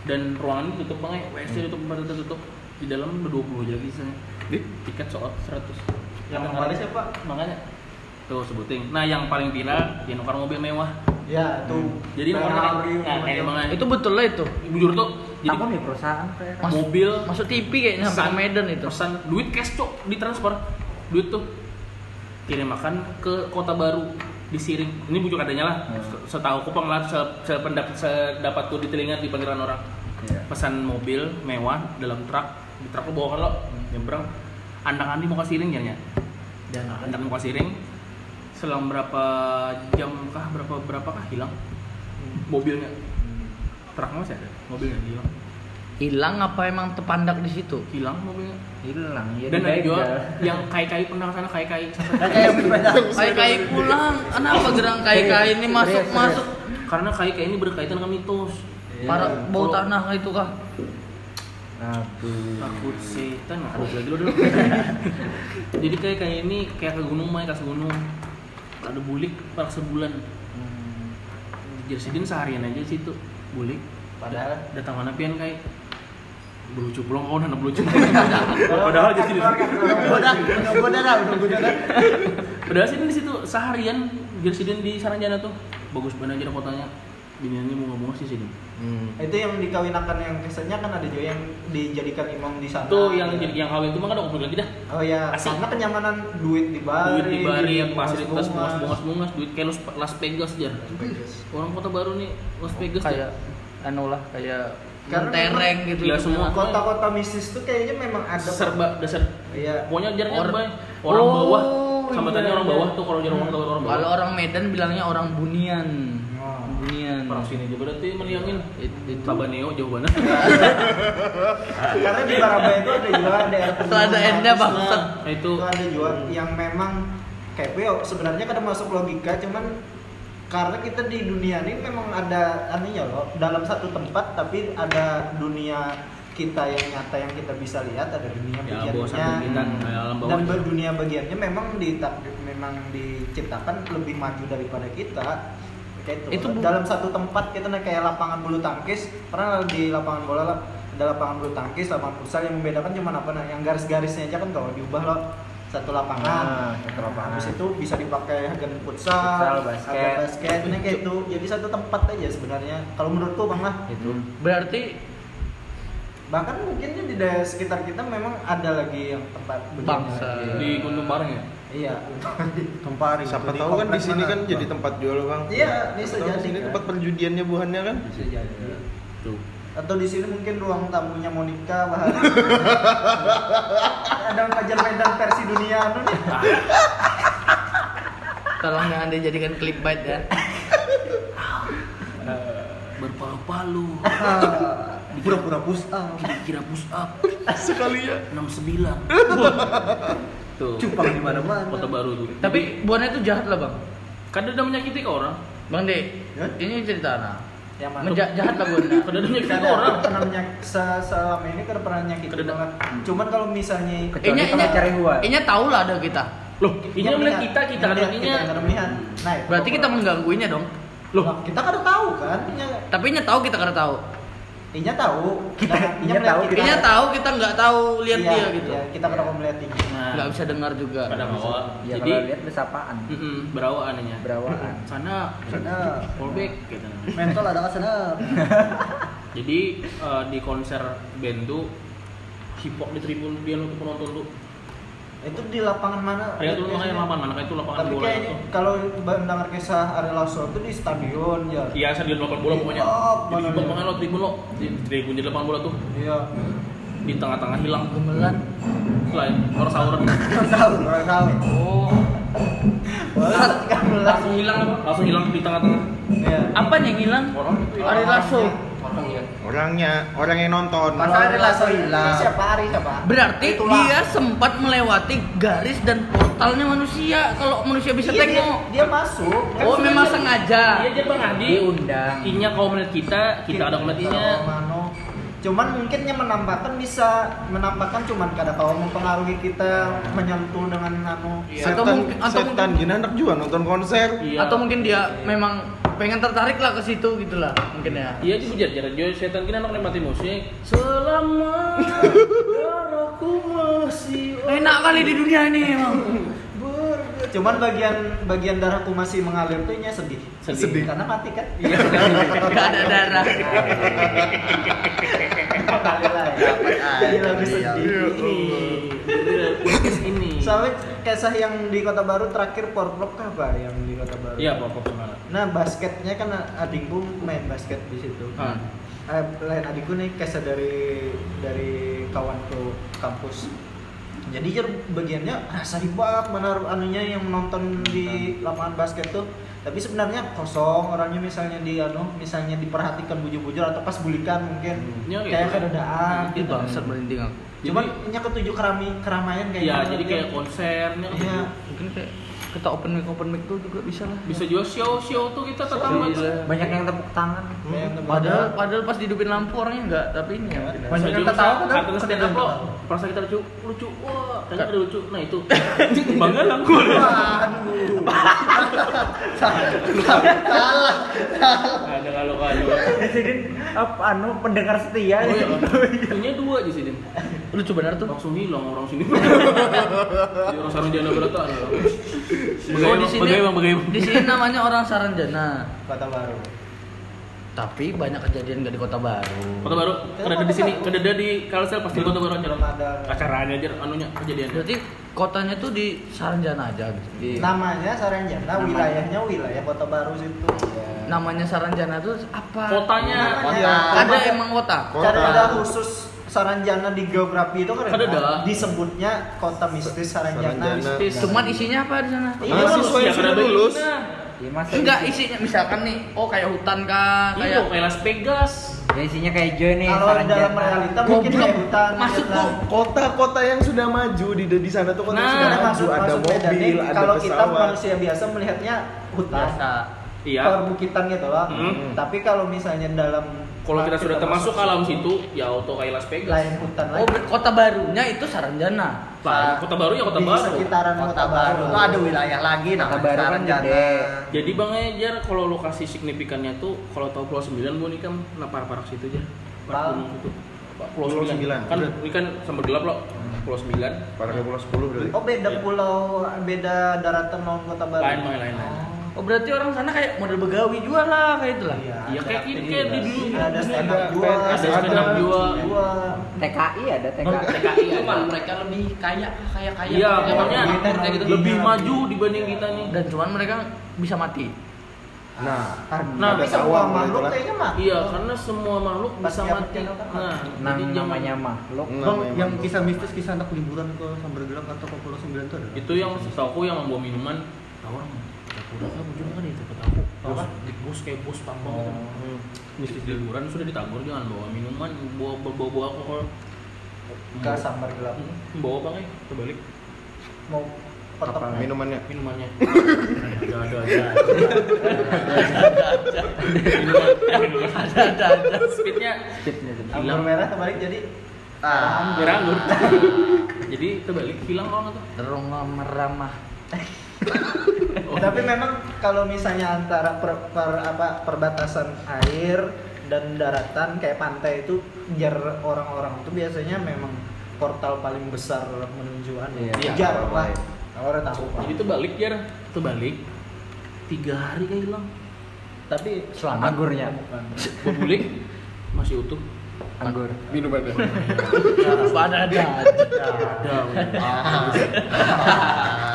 dan ruangan itu tutup ya. banget Hmm. WC tutup tempat itu tutup di dalam ada 20 aja lagi sana Di? tiket soal 100 Yang kemarin siapa? makanya tuh sebutin nah yang paling viral dia nukar mobil mewah Ya, itu. jadi nukar nah, kayak banget itu betul lah itu bujur tuh jadi Apa nih perusahaan? Fer? Mas- mobil masuk TV kayaknya sampai pesan- ke Medan itu pesan duit cash cok ditransfer duit tuh kirim makan ke kota baru disiring ini bujuk adanya lah setahu kupang lah se- sependapat sedapatku di telinga di pengiran orang pesan mobil mewah dalam truk di truk lo bawa kan lo nyebrang andang andi mau kasih ring jadinya Dan andang mau kasih ring selang berapa jam kah berapa berapa kah hilang mobilnya truk masih ada mobilnya hilang hilang apa emang terpandak di situ iya. hilang mobilnya hilang ya. dan ada juga yang kai-kai pernah sana kai-kai Nah, kayak berbeda. kai-kai pulang kenapa gerang kai-kai ini masuk Serius, serius. masuk karena kai-kai ini berkaitan dengan mitos para bau Kalau- tanah itu kah Nah, tuh. takut setan aku lagi dulu jadi kai-kai ini kayak ke gunung main ke gunung ada bulik per sebulan jersidin seharian aja di situ bulik Padahal datang mana pian kai belucu pulang kau anak belucu padahal jersidin Udah, udah, udah, dah, udah, udah, dah. padahal sih di situ seharian jersidin di Saranjana tuh bagus banget aja kotanya biniannya mau ngomong sih sini Hmm. Itu yang dikawinakan yang kesannya kan ada juga yang dijadikan imam di sana. Tuh yang Ya. yang kawin itu mah kan aku lagi dah. Oh ya, Asik. karena kenyamanan duit di Bali, Duit di Bali, fasilitas bunga-bunga. bungas-bungas, duit kayak Los- Las Vegas aja. Orang kota baru nih Las Vegas Oh, kayak anu lah kayak Karena tereng memang- gitu Iya, semua. Kota-kota mistis tuh kayaknya memang tuh. ada serba dasar. Iya. Pokoknya jarang Or- orang, orang Oh, bawah. Sama iya, tanya orang iya. bawah tuh kalau jarang orang bawah orang kalau bawah. orang Medan bilangnya orang bunian Oh. bunian Orang sini aja berarti meliangin. It- itu. Tabaneo jauh banget. Karena di Surabaya itu ada juga daerah Selada pegunungan Enda, habis Bang. lah. Set. Nah, itu Itu ada juga yang memang kayak gue sebenarnya kadang masuk logika cuman karena kita di dunia ini memang ada anunya loh dalam satu tempat tapi ada dunia kita yang nyata yang kita bisa lihat ada dunia ya bawah bagiannya satu bintang Hmm. kayak alam bawah. dan ber- dunia bagiannya memang di memang diciptakan lebih maju daripada kita kayak itu, Itu bu- dalam satu tempat kita naik kayak lapangan bulu tangkis pernah di lapangan bola lah ada lapangan bulu tangkis lapangan futsal yang membedakan cuma apa nah yang garis-garisnya aja kan kalau diubah loh satu Ah, lapangan Nah, satu lapangan. habis itu bisa dipakai agen futsal, Futsal, basket. agen basket ini kayak itu jadi satu tempat aja sebenarnya kalau menurutku bang lah Itu. berarti bahkan mungkin di daerah sekitar kita memang ada lagi yang tempat begini Bangsa. lagi. Di Gunung Bareng ya. iya Kempari. Siapa Itu di tahu kan di komplek sini mana? kan jadi tempat jual bang. Iya, ini Siapa tahu sejati, di sini kan? tempat perjudiannya buhannya kan. bisa jadi Tuh. atau di sini mungkin ruang tamunya Monica bahas ada Fajar Medan versi dunia anu nih tolong jangan dijadikan clip bait ya Berpalu-palu. Pura-pura push up. Kira-kira push up Sekali ya. 69. Tuh. Cupang di mana-mana. Kota baru tuh. tapi buana itu jahat lah bang kadang udah menyakiti ke orang. bang de Hah? ini cerita nah yang mana Menja- jahat lah buana Kadang Kan udah menyakiti Karena ke orang. pernah menyak- se- selama ini kan pernah nyakitin Kedada- banget cuman kalau misalnya Inya, inya, cari huan. inya tahu lah ada kita. Loh, ini yang melihat kita, kita melihat kadang kita inya. kadang melihat nah itu Berarti kita kalau- menggangguinya dong. Loh, Lah, kita kan tahu kan inya Tapi inya tahu kita karena tahu. Inya tahu, Kita- Nah, Inya melihat tahu, Kayaknya tahu kita nggak tahu lihat Iya, dia gitu. iya, kita pernah melihat Inya. Nah, Nggak bisa dengar juga. pada Iya, awal. Iya, Ya Jadi kalau lihat bersapaan, mm-mm, berawaan hanya. berawaan. Sana Sana. callback gitu. Mentol ada nggak sana? Jadi eh, di konser band tuh hip hop di tribun dia untuk penonton tuh. Itu di lapangan mana? Kayak tuh makanya lapangan mana kayak Ya, itu lapangan Tapi bola kayaknya tuh. kalau mendengar kisah Ari Lasso itu di stadion ya. Iya, saya di lapangan bola pokoknya. Hip hop, Jadi mana hip hop dia? makanya lo tribun lo di tribun di lapangan bola tuh Iya. di tengah-tengah hilang Gemelan. selain orang sauran Tahu, orang tahu. Oh. Balas kan belas. langsung hilang apa? Langsung hilang di tengah-tengah Iya. Apa yang hilang? orang itu hilang. Ari Lasso. Orangnya, orang yang nonton. Kalau Masa Ari Ari Lasso Lasso hilang. hilang? Siapa Ari siapa? Berarti Itulah. Iya, dia sempat melewati garis dan portalnya manusia. Kalau manusia bisa Iya, dia, tengok. dia masuk. Kan Oh, sudah memang dia- sengaja. Iya aja Bang Adi. Diundang. Inya kalau melihat kita, kita ada melihat Kita inya. ada Romano. Iya, Cuman mungkinnya menampakkan bisa menampakkan cuman kada kalau mempengaruhi kita menyentuh dengan nano. Iya. Setan, Atau mungkin- atau setan mungkin- gini anak juga nonton konser. Iya. Atau mungkin dia memang pengen tertarik lah ke situ gitu lah mungkin ya. Iya juga jar jar Jo setan kini anak nikmati musik. Selama darahku masih Enak kali di dunia ini emang. Ber- Cuman bagian bagian darahku masih mengalir tuh inya sedih. Sedih. Iya. Karena mati kan. Gak ada darah. Mengalir lah ya. Jadi lagu iya, sedih. ini. Podcast ini. Soalnya kisah yang di Kota Baru terakhir porprov apa yang di Kota Baru? Iya apa apa gimana? Nah basketnya kan adikku main basket di situ. Hah. Eh, lain adikku nih kisah dari dari kawanku kampus. Jadi jer bagiannya rasa ribet menaruh anunya yang menonton di lapangan basket tuh. Tapi sebenarnya kosong orangnya misalnya di anu misalnya diperhatikan bujur-bujur atau pas bulikan mungkin Hmm. Ya, gitu. kayak kedadaan. Ih, bangsat merinding aku. Cuman Jadi- ini ketujuh kerami keramaian kayak Iya gitu. jadi kayak konsernya. Iya. Mungkin kayak kita open mic open mic tuh juga bisa lah. gitu. Bisa juga show show tuh kita Iya. tetangga. Bisa. Banyak Iya, yang tepuk tangan. Kayak tebak- Padahal padahal pas dihidupin lampu orangnya enggak, tapi ini ya. Banyak yang ketawa kan? Artinya stand up lo. Perasa kita lucu, lucu, wah, ternyata ada lucu. Nah itu bangga lah gue. Aduh. Ada kalau kalau. Di sini apa anu pendengar setia. Oh iya, punya dua aja sih, Din. Lucu benar tuh. Langsung hilang orang sini. Di orang Sarunjana berata. Oh, di sini Bagaimana, bagaimana? di sini namanya orang Saranjana. Kota Baru. Tapi banyak kejadian gak di Kota Baru. Kota Baru, kedada di sini, kedada di Kalsel pasti Kota Baru aja. Belum ada. Acaranya aja, anunya kejadiannya. Berarti kotanya tuh di Saranjana aja gitu. Di- Namanya Saranjana, wilayahnya wilayah Kota Baru situ. Iya. namanya Saranjana tuh apa? Kotanya, Namanya. Ada emang kota. Kota. Karena ada khusus Saranjana di geografi itu kan Ada dah. disebutnya kota mistis Saranjana. Saranjana. Mistis. Cuman isinya apa di sana? Iya, Mahasiswa lulus, yang ya, sudah kedada lulus. Ina. Ya, masa Enggak isi- isinya misalkan nih, oh kayak hutan kah, Iya, kayak dong, kayak Las Vegas. Ya isinya kayak Joy nih. Kalau saran dalam jantan. realita mungkin goblok. kayak hutan. Masuk hutan. kok. Kota-kota yang sudah maju di di sana tuh kota yang Nah, sudah Karena maju maksud ada maksud mobil, bedanya, ada kalau kita pesawat. manusia biasa melihatnya hutan, biasa. Iya. perbukitan gitu lah. Hmm. Tapi kalau misalnya dalam Kalau kita sudah termasuk alam situ, ya auto kayak Las lain Vegas. hutan Oh, lagi. ber- kota barunya itu Saranjana. Lah, Kota Baru ya di Kota Baru. sekitaran Kota, Baru. Itu ada wilayah lagi Kota namanya Baru kan Saranjana. gede. Jadi Bang Ejar kalau lokasi signifikannya tuh kalau tahu Pulau 9 Bu ini kan nah parah-parah situ aja. Parah. Parah gunung itu. Pulau, Pulau 9. Sembilan. Kan ini kan sampai gelap loh. Pulau 9. Parah ke pulau 10 berarti. Oh beda pulau, beda daratan non kota baru. Iya. Lain Bang, lain lain. Oh, berarti orang sana kayak model begawi juga lah kayak itulah. Iya, kayak gini, kayak di dulu. Iya, Iya. Ada stand up Ada dua, PNS, Ada stand up Iya. ada. juga. dua. TKI ada TKI. TKI cuman mereka lebih kaya kaya kaya Iya, Kayak pokoknya gitu, kayak gitu. lebih Iya. maju dibanding kita nih. dan cuman mereka bisa mati Nah, Nah, Tapi ada semua sawah makhluk mulai kayaknya mah. Iya, karena semua makhluk Pas bisa dia mati. pecah, kan? Nah, Nah, jadi zaman- namanya makhluk. Nah, Bang, memang. yang kisah mistis kisah anak liburan ke Sambergelak atau ke Pulau Sembilan itu ada? itu yang setahu aku yang membawa minuman tahu orang Kura kan ujung kan itu ketahu bos di bos kayak bos pambang gitu Hmm. mistis liburan sudah ditagur jangan bawa minuman bawa bawa, bawa alkohol Ke sambar gelap. Hmm, bawa apa kayak terbalik Mau kotak minumannya. minumannya ada ada ada Minuman, minuman. ada ada ada speednya Tipsnya tuh. Anggur hilang merah terbalik jadi Ah, merah anggur jadi terbalik hilang orang itu terong meramah Oh. Eh, Tapi memang kalau misalnya antara per, per- apa perbatasan air dan daratan kayak pantai itu jar orang-orang itu biasanya memang portal paling besar menuju anu Iya. jar lah orang tahu Pak. Jadi itu balik ya, itu balik. Tiga hari kayak hilang. tapi Selamat. Anggurnya. bukan. Gue bulik masih utuh. anggur Minum aja. Pada ada.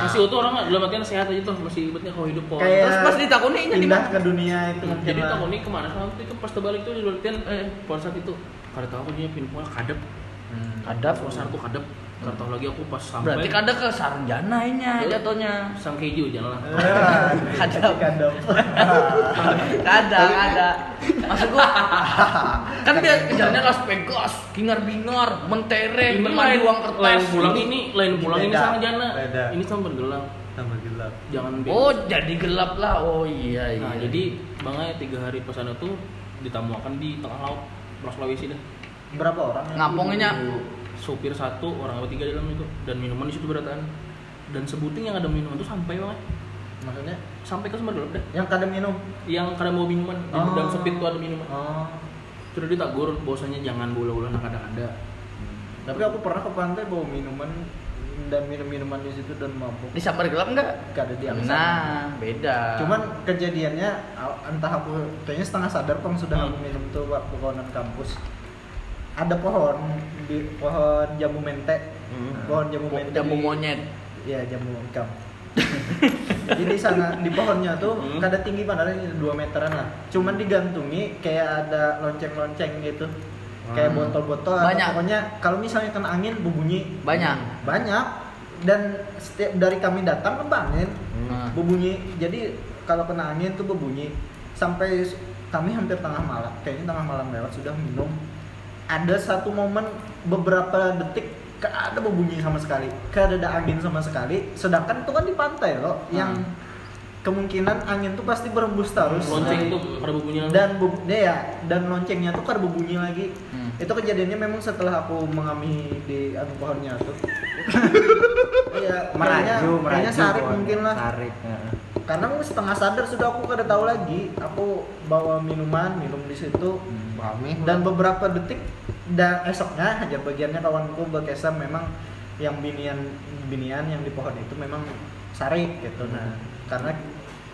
Masih utuh orang nggak dalam artian sehat aja tuh masih ibetnya kalau hidup kok. Kayak- Iya. Terus pas ditakoni ini di pindah ke dunia itu mungkin jadi lah. tahu nih kemana sama waktu itu pas terbalik tuh dalam artian eh pada saat itu kada tahu aku dia pindah kadep. Hmm. Kadap. Pasar aku kadep. Kada tahu lagi aku pas sampai. Berarti kadang ke sarjananya jatuhnya. sang keju jangan lah. Kadap. Kadang. Kadang ada. Maksud gua kan dia kerjanya Las Vegas, bingar-bingar, mentere, Ini bermain lain uang lain kertas. pulang ini, lain pulang ini beda. sama jana. Beda. Ini sama bergelang. tambah gelap Jangan beda. Oh, jadi gelap lah. Oh iya iya. Nah, jadi bangnya tiga hari pesan itu ditamuakan di tengah laut Pulau Sulawesi dah. berapa orang yang- ngaponginnya Sopir satu, orang apa tiga di dalam itu dan minuman di situ berataan. Dan sebuting yang ada minuman itu sampai banget maksudnya sampai ke Sumber Gelap dah. yang kadang minum Yang kadang mau minuman, di Oh. dalam sepit tuh ada minuman. oh Terus ditagur bahwasanya jangan bola-bola anak ada. tapi aku pernah ke pantai bawa minuman dan minum minuman di situ dan mabuk disambar gelap enggak? gak ada diangsa Nah, beda. Iya, cuman kejadiannya al- entah aku kayaknya setengah sadar kong sudah Hmm. aku minum tuh waktu kawanan kampus ada pohon di pohon jamu mente Hmm. pohon jamu Mo- mente jamu di- monyet. ya jamu ikam jadi sana di pohonnya tuh Hmm. kada tinggi padahal ini 2 meteran lah cuman digantungi kayak ada lonceng-lonceng gitu kayak Hmm. botol-botol Banyak. pokoknya kalau misalnya kena angin berbunyi Banyak. banyak dan setiap dari kami datang kebangin Hmm. Nah. berbunyi jadi kalau kena angin tuh berbunyi sampai s- kami hampir tengah malam kayaknya tengah malam lewat sudah minum ada satu momen beberapa detik gak ada berbunyi sama sekali gak ada angin sama sekali sedangkan itu kan di pantai loh yang kemungkinan angin tuh pasti berembus terus Lonceng itu pada bukunya dan bu- dia ya dan loncengnya tuh kan berbunyi lagi Hmm. itu kejadiannya memang setelah aku mengami di anu pohonnya tuh iya kayaknya meraju meraju kayaknya sarip pohon. mungkin lah sarip ya. karena aku setengah sadar sudah aku kada tahu lagi aku bawa minuman minum di situ Mami. dan beberapa detik dan esoknya hajar bagiannya kawanku berkesam memang yang binian binian yang di pohon itu memang sari gitu nah karena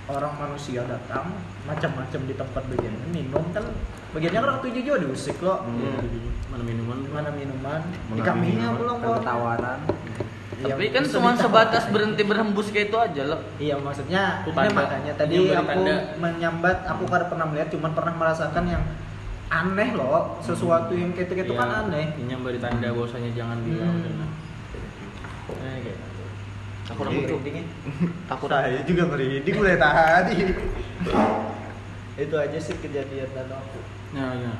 orang manusia datang macam-macam di tempat bagiannya minum kan bagiannya kan tujuh juga diusik loh Iya. mana minuman? mana minuman di Mana kambingnya minuman, belum Ada kok tawaran Iya, Tapi kan bisa cuma ditawar. sebatas berhenti berhembus kayak itu aja loh. Iya maksudnya Itu ini tanda. makanya tadi Ini yang aku bertanda. menyambat aku kada pernah melihat cuman pernah merasakan yang aneh loh sesuatu yang kayak gitu kan aneh. Iya, Nyambar di tanda bahwasanya jangan bilang. Hmm. dan- Nah, kayak gitu. Takut Jadi, aku merinding ya. takut aku. Saya juga merinding mulai tadi. Itu aja sih kejadian dan aku. Nah, ya.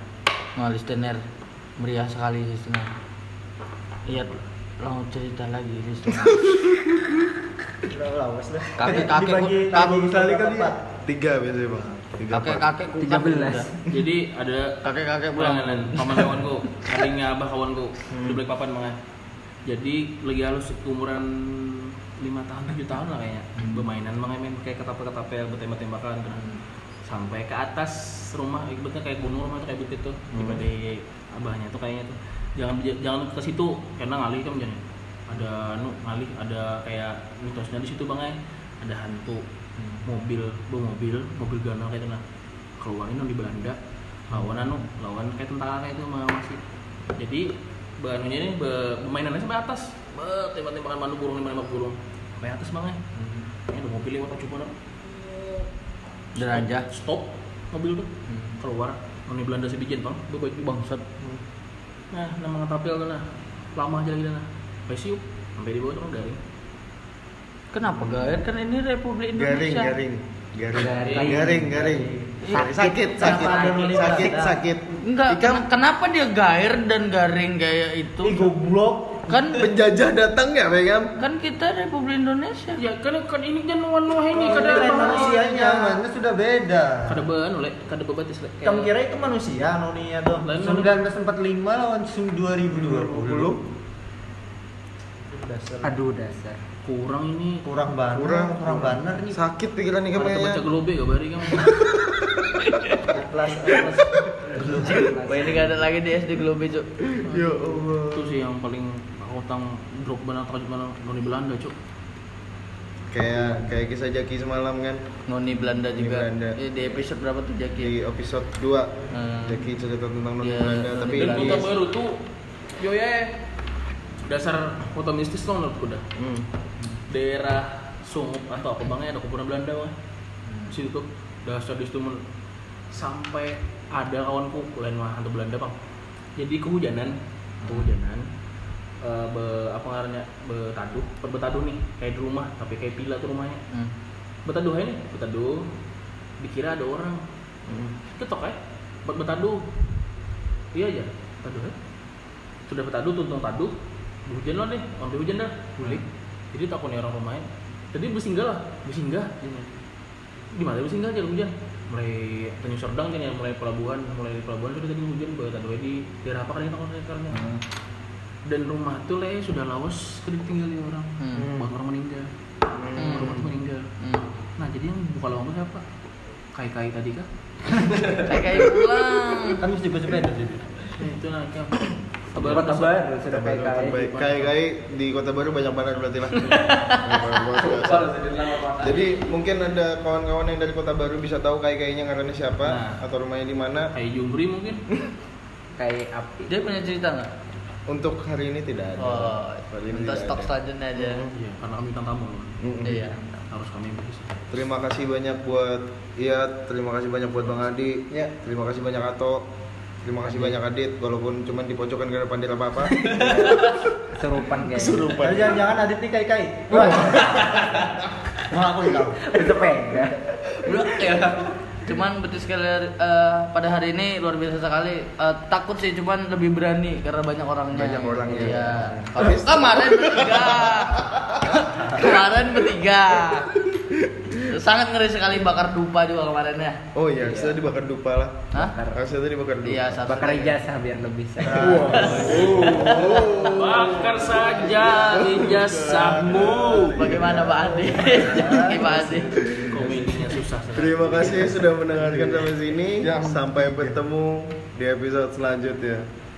Nah, listener meriah sekali listener. Iya, mau cerita lagi listener. Udah lawas dah. Kakek-kakek Dibagi- ku- kakek dibagi Sekali berapa? kali ya. tiga biasanya bang tiga part. Kakek-kakek ku kan 13. udah. Jadi ada Kakek-kakek pulang. Pulang lain paman kawanku, adiknya abah kawanku, Hmm. di black papan mangan. Jadi lagi halus umuran 5 tahun, 7 tahun lah kayaknya. Hmm. Bermainan mangan main kayak ketapel-ketapel, bertembak-tembakan. Sampai ke atas rumah, ibaratnya kayak gunung rumah tuh kayak bukit tuh. Tiba di abahnya tuh kayaknya tuh. Jangan j- jangan ke situ karena ngalih kan jangan. Ada nu ngalih, ada kayak mitosnya di situ bang eh. Ada hantu, mobil, bawa mobil, mobil ganal kayak gitu nah. Keluarin di Belanda, lawan anu lawan kayak tentara kayak itu sama masih jadi bahannya ini be- permainannya sampai atas Be- tembak-tembakan manu burung tembak burung sampai atas ya. banget ini ada mobil lewat aku coba dong. Derajah. stop mobil tuh Hmm. keluar Noni Belanda sebijin bang gue baik bangsat nah nama ngetapel tuh nah lama aja lagi dah, nah sampai siup sampai di bawah tuh kan garing Kenapa gair? Kan ini Republik garing Indonesia. garing garing Garing. garing garing Sakit. sakit sakit Kenapa ada sakit nulis sakit, ada? sakit. Enggak, Ikam ken- kenapa dia gair dan garing kayak itu? Ih goblok. Kan penjajah datang ya Begam kan kita Republik Indonesia. ya kan kan ini kan nuan nuahnya kada Ini bahan manusianya. Zamannya sudah beda. kada bahan oleh kada bebatis oleh Kamu kira itu manusia noninya tuh? Lain Sudah 1945 lawan su- 2020 dasar. aduh dasar kurang ini kurang banget Kurang. kurang banget nih sakit pikiran Ikam Ada kayaknya baca gelobe gak bari kamu Plus, plus. Wah ini gak ada lagi di SD Globe cuk. Ya Allah. itu sih yang paling utang drop banget atau gimana dari Belanda cuk Kayak kayak kisah Jaki semalam kan Ngoni Belanda Iya, Ngoni juga. Belanda. Eh, di episode berapa tuh Jaki? di episode 2 Eh, Jaki cerita tentang non Iya, Belanda Noni tapi dan Belanda. di kota baru tuh yo ya dasar kota mistis tuh menurutku dah Hmm. daerah Sungup atau apa bangnya ada kuburan Belanda wah Di situ tuh dasar di situ men- sampai ada kawanku lain mah hantu Belanda bang jadi kehujanan kehujanan Eh, be, apa ngarannya betaduh per betaduh nih kayak di rumah tapi kayak pila tuh rumahnya hmm. betaduh aja nih betaduh dikira ada orang ketok ya buat betadu iya aja betadu ya sudah betadu tuntung tadu hujan lah deh sampai hujan dah gulik jadi takut nih orang pemain jadi bersinggah lah bersinggah gini gimana bersinggah aja hujan mulai Tanjung Serdang kan ya mulai pelabuhan mulai dari pelabuhan tuh tadi hujan buat tadu di daerah apa kan ini takut karena dan rumah tuh leh sudah lawas kena tinggal ya orang Hmm. Bahkan orang meninggal Hmm. rumah tuh meninggal Hmm. nah jadi yang buka lowongan siapa kai-kai tadi kah Kayak kayak pulang. kan mesti gue sepeda jadi Nah, itu nanti apa? Tempat terbaik sudah Kota kayak Baru terbaik. Kayak kayak di Kota Baru banyak banget berarti lah. Banyak banget. Jadi mungkin ada kawan-kawan yang dari Kota Baru bisa tahu kayak kayaknya karena siapa Nah. atau rumahnya di mana. Kayak Jumri mungkin. kayak api. Dia punya cerita nggak? Untuk hari ini tidak ada. Oh, Hari ini untuk tidak stok ada. selanjutnya aja. Iya, karena kami kan tamu. Mm-mm. Iya. Harus kami bisa. Terima kasih banyak buat Iya, terima kasih banyak buat Bang Adi. Ya. Terima kasih banyak Ato. Terima kasih banyak Adit walaupun cuman di pojokan gak ada pandil apa-apa. Serupan kayak. Tapi jangan-jangan adit nih kai kai wah mau aku yang tahu Sepeda. Udah, ya. Cuman betul sekali eh, pada hari ini luar biasa sekali. Eh, takut sih cuman lebih berani karena banyak orangnya. Banyak orangnya. Iya. Kalau Tapi- kemarin bertiga. kemarin bertiga. Sangat ngeri sekali bakar dupa juga kemarin ya. Oh iya, saya dibakar dupa lah. Hah? Saya tadi dibakar dupa. Iya, satu. Bakar ijazah biar lebih sehat. Wow. Oh. Bakar saja ijazahmu. Bagaimana Pak Andi? Jadi Pak Andi. Komedinya susah. Terima kasih sudah mendengarkan sampai sini. Ya. Sampai bertemu di episode selanjutnya.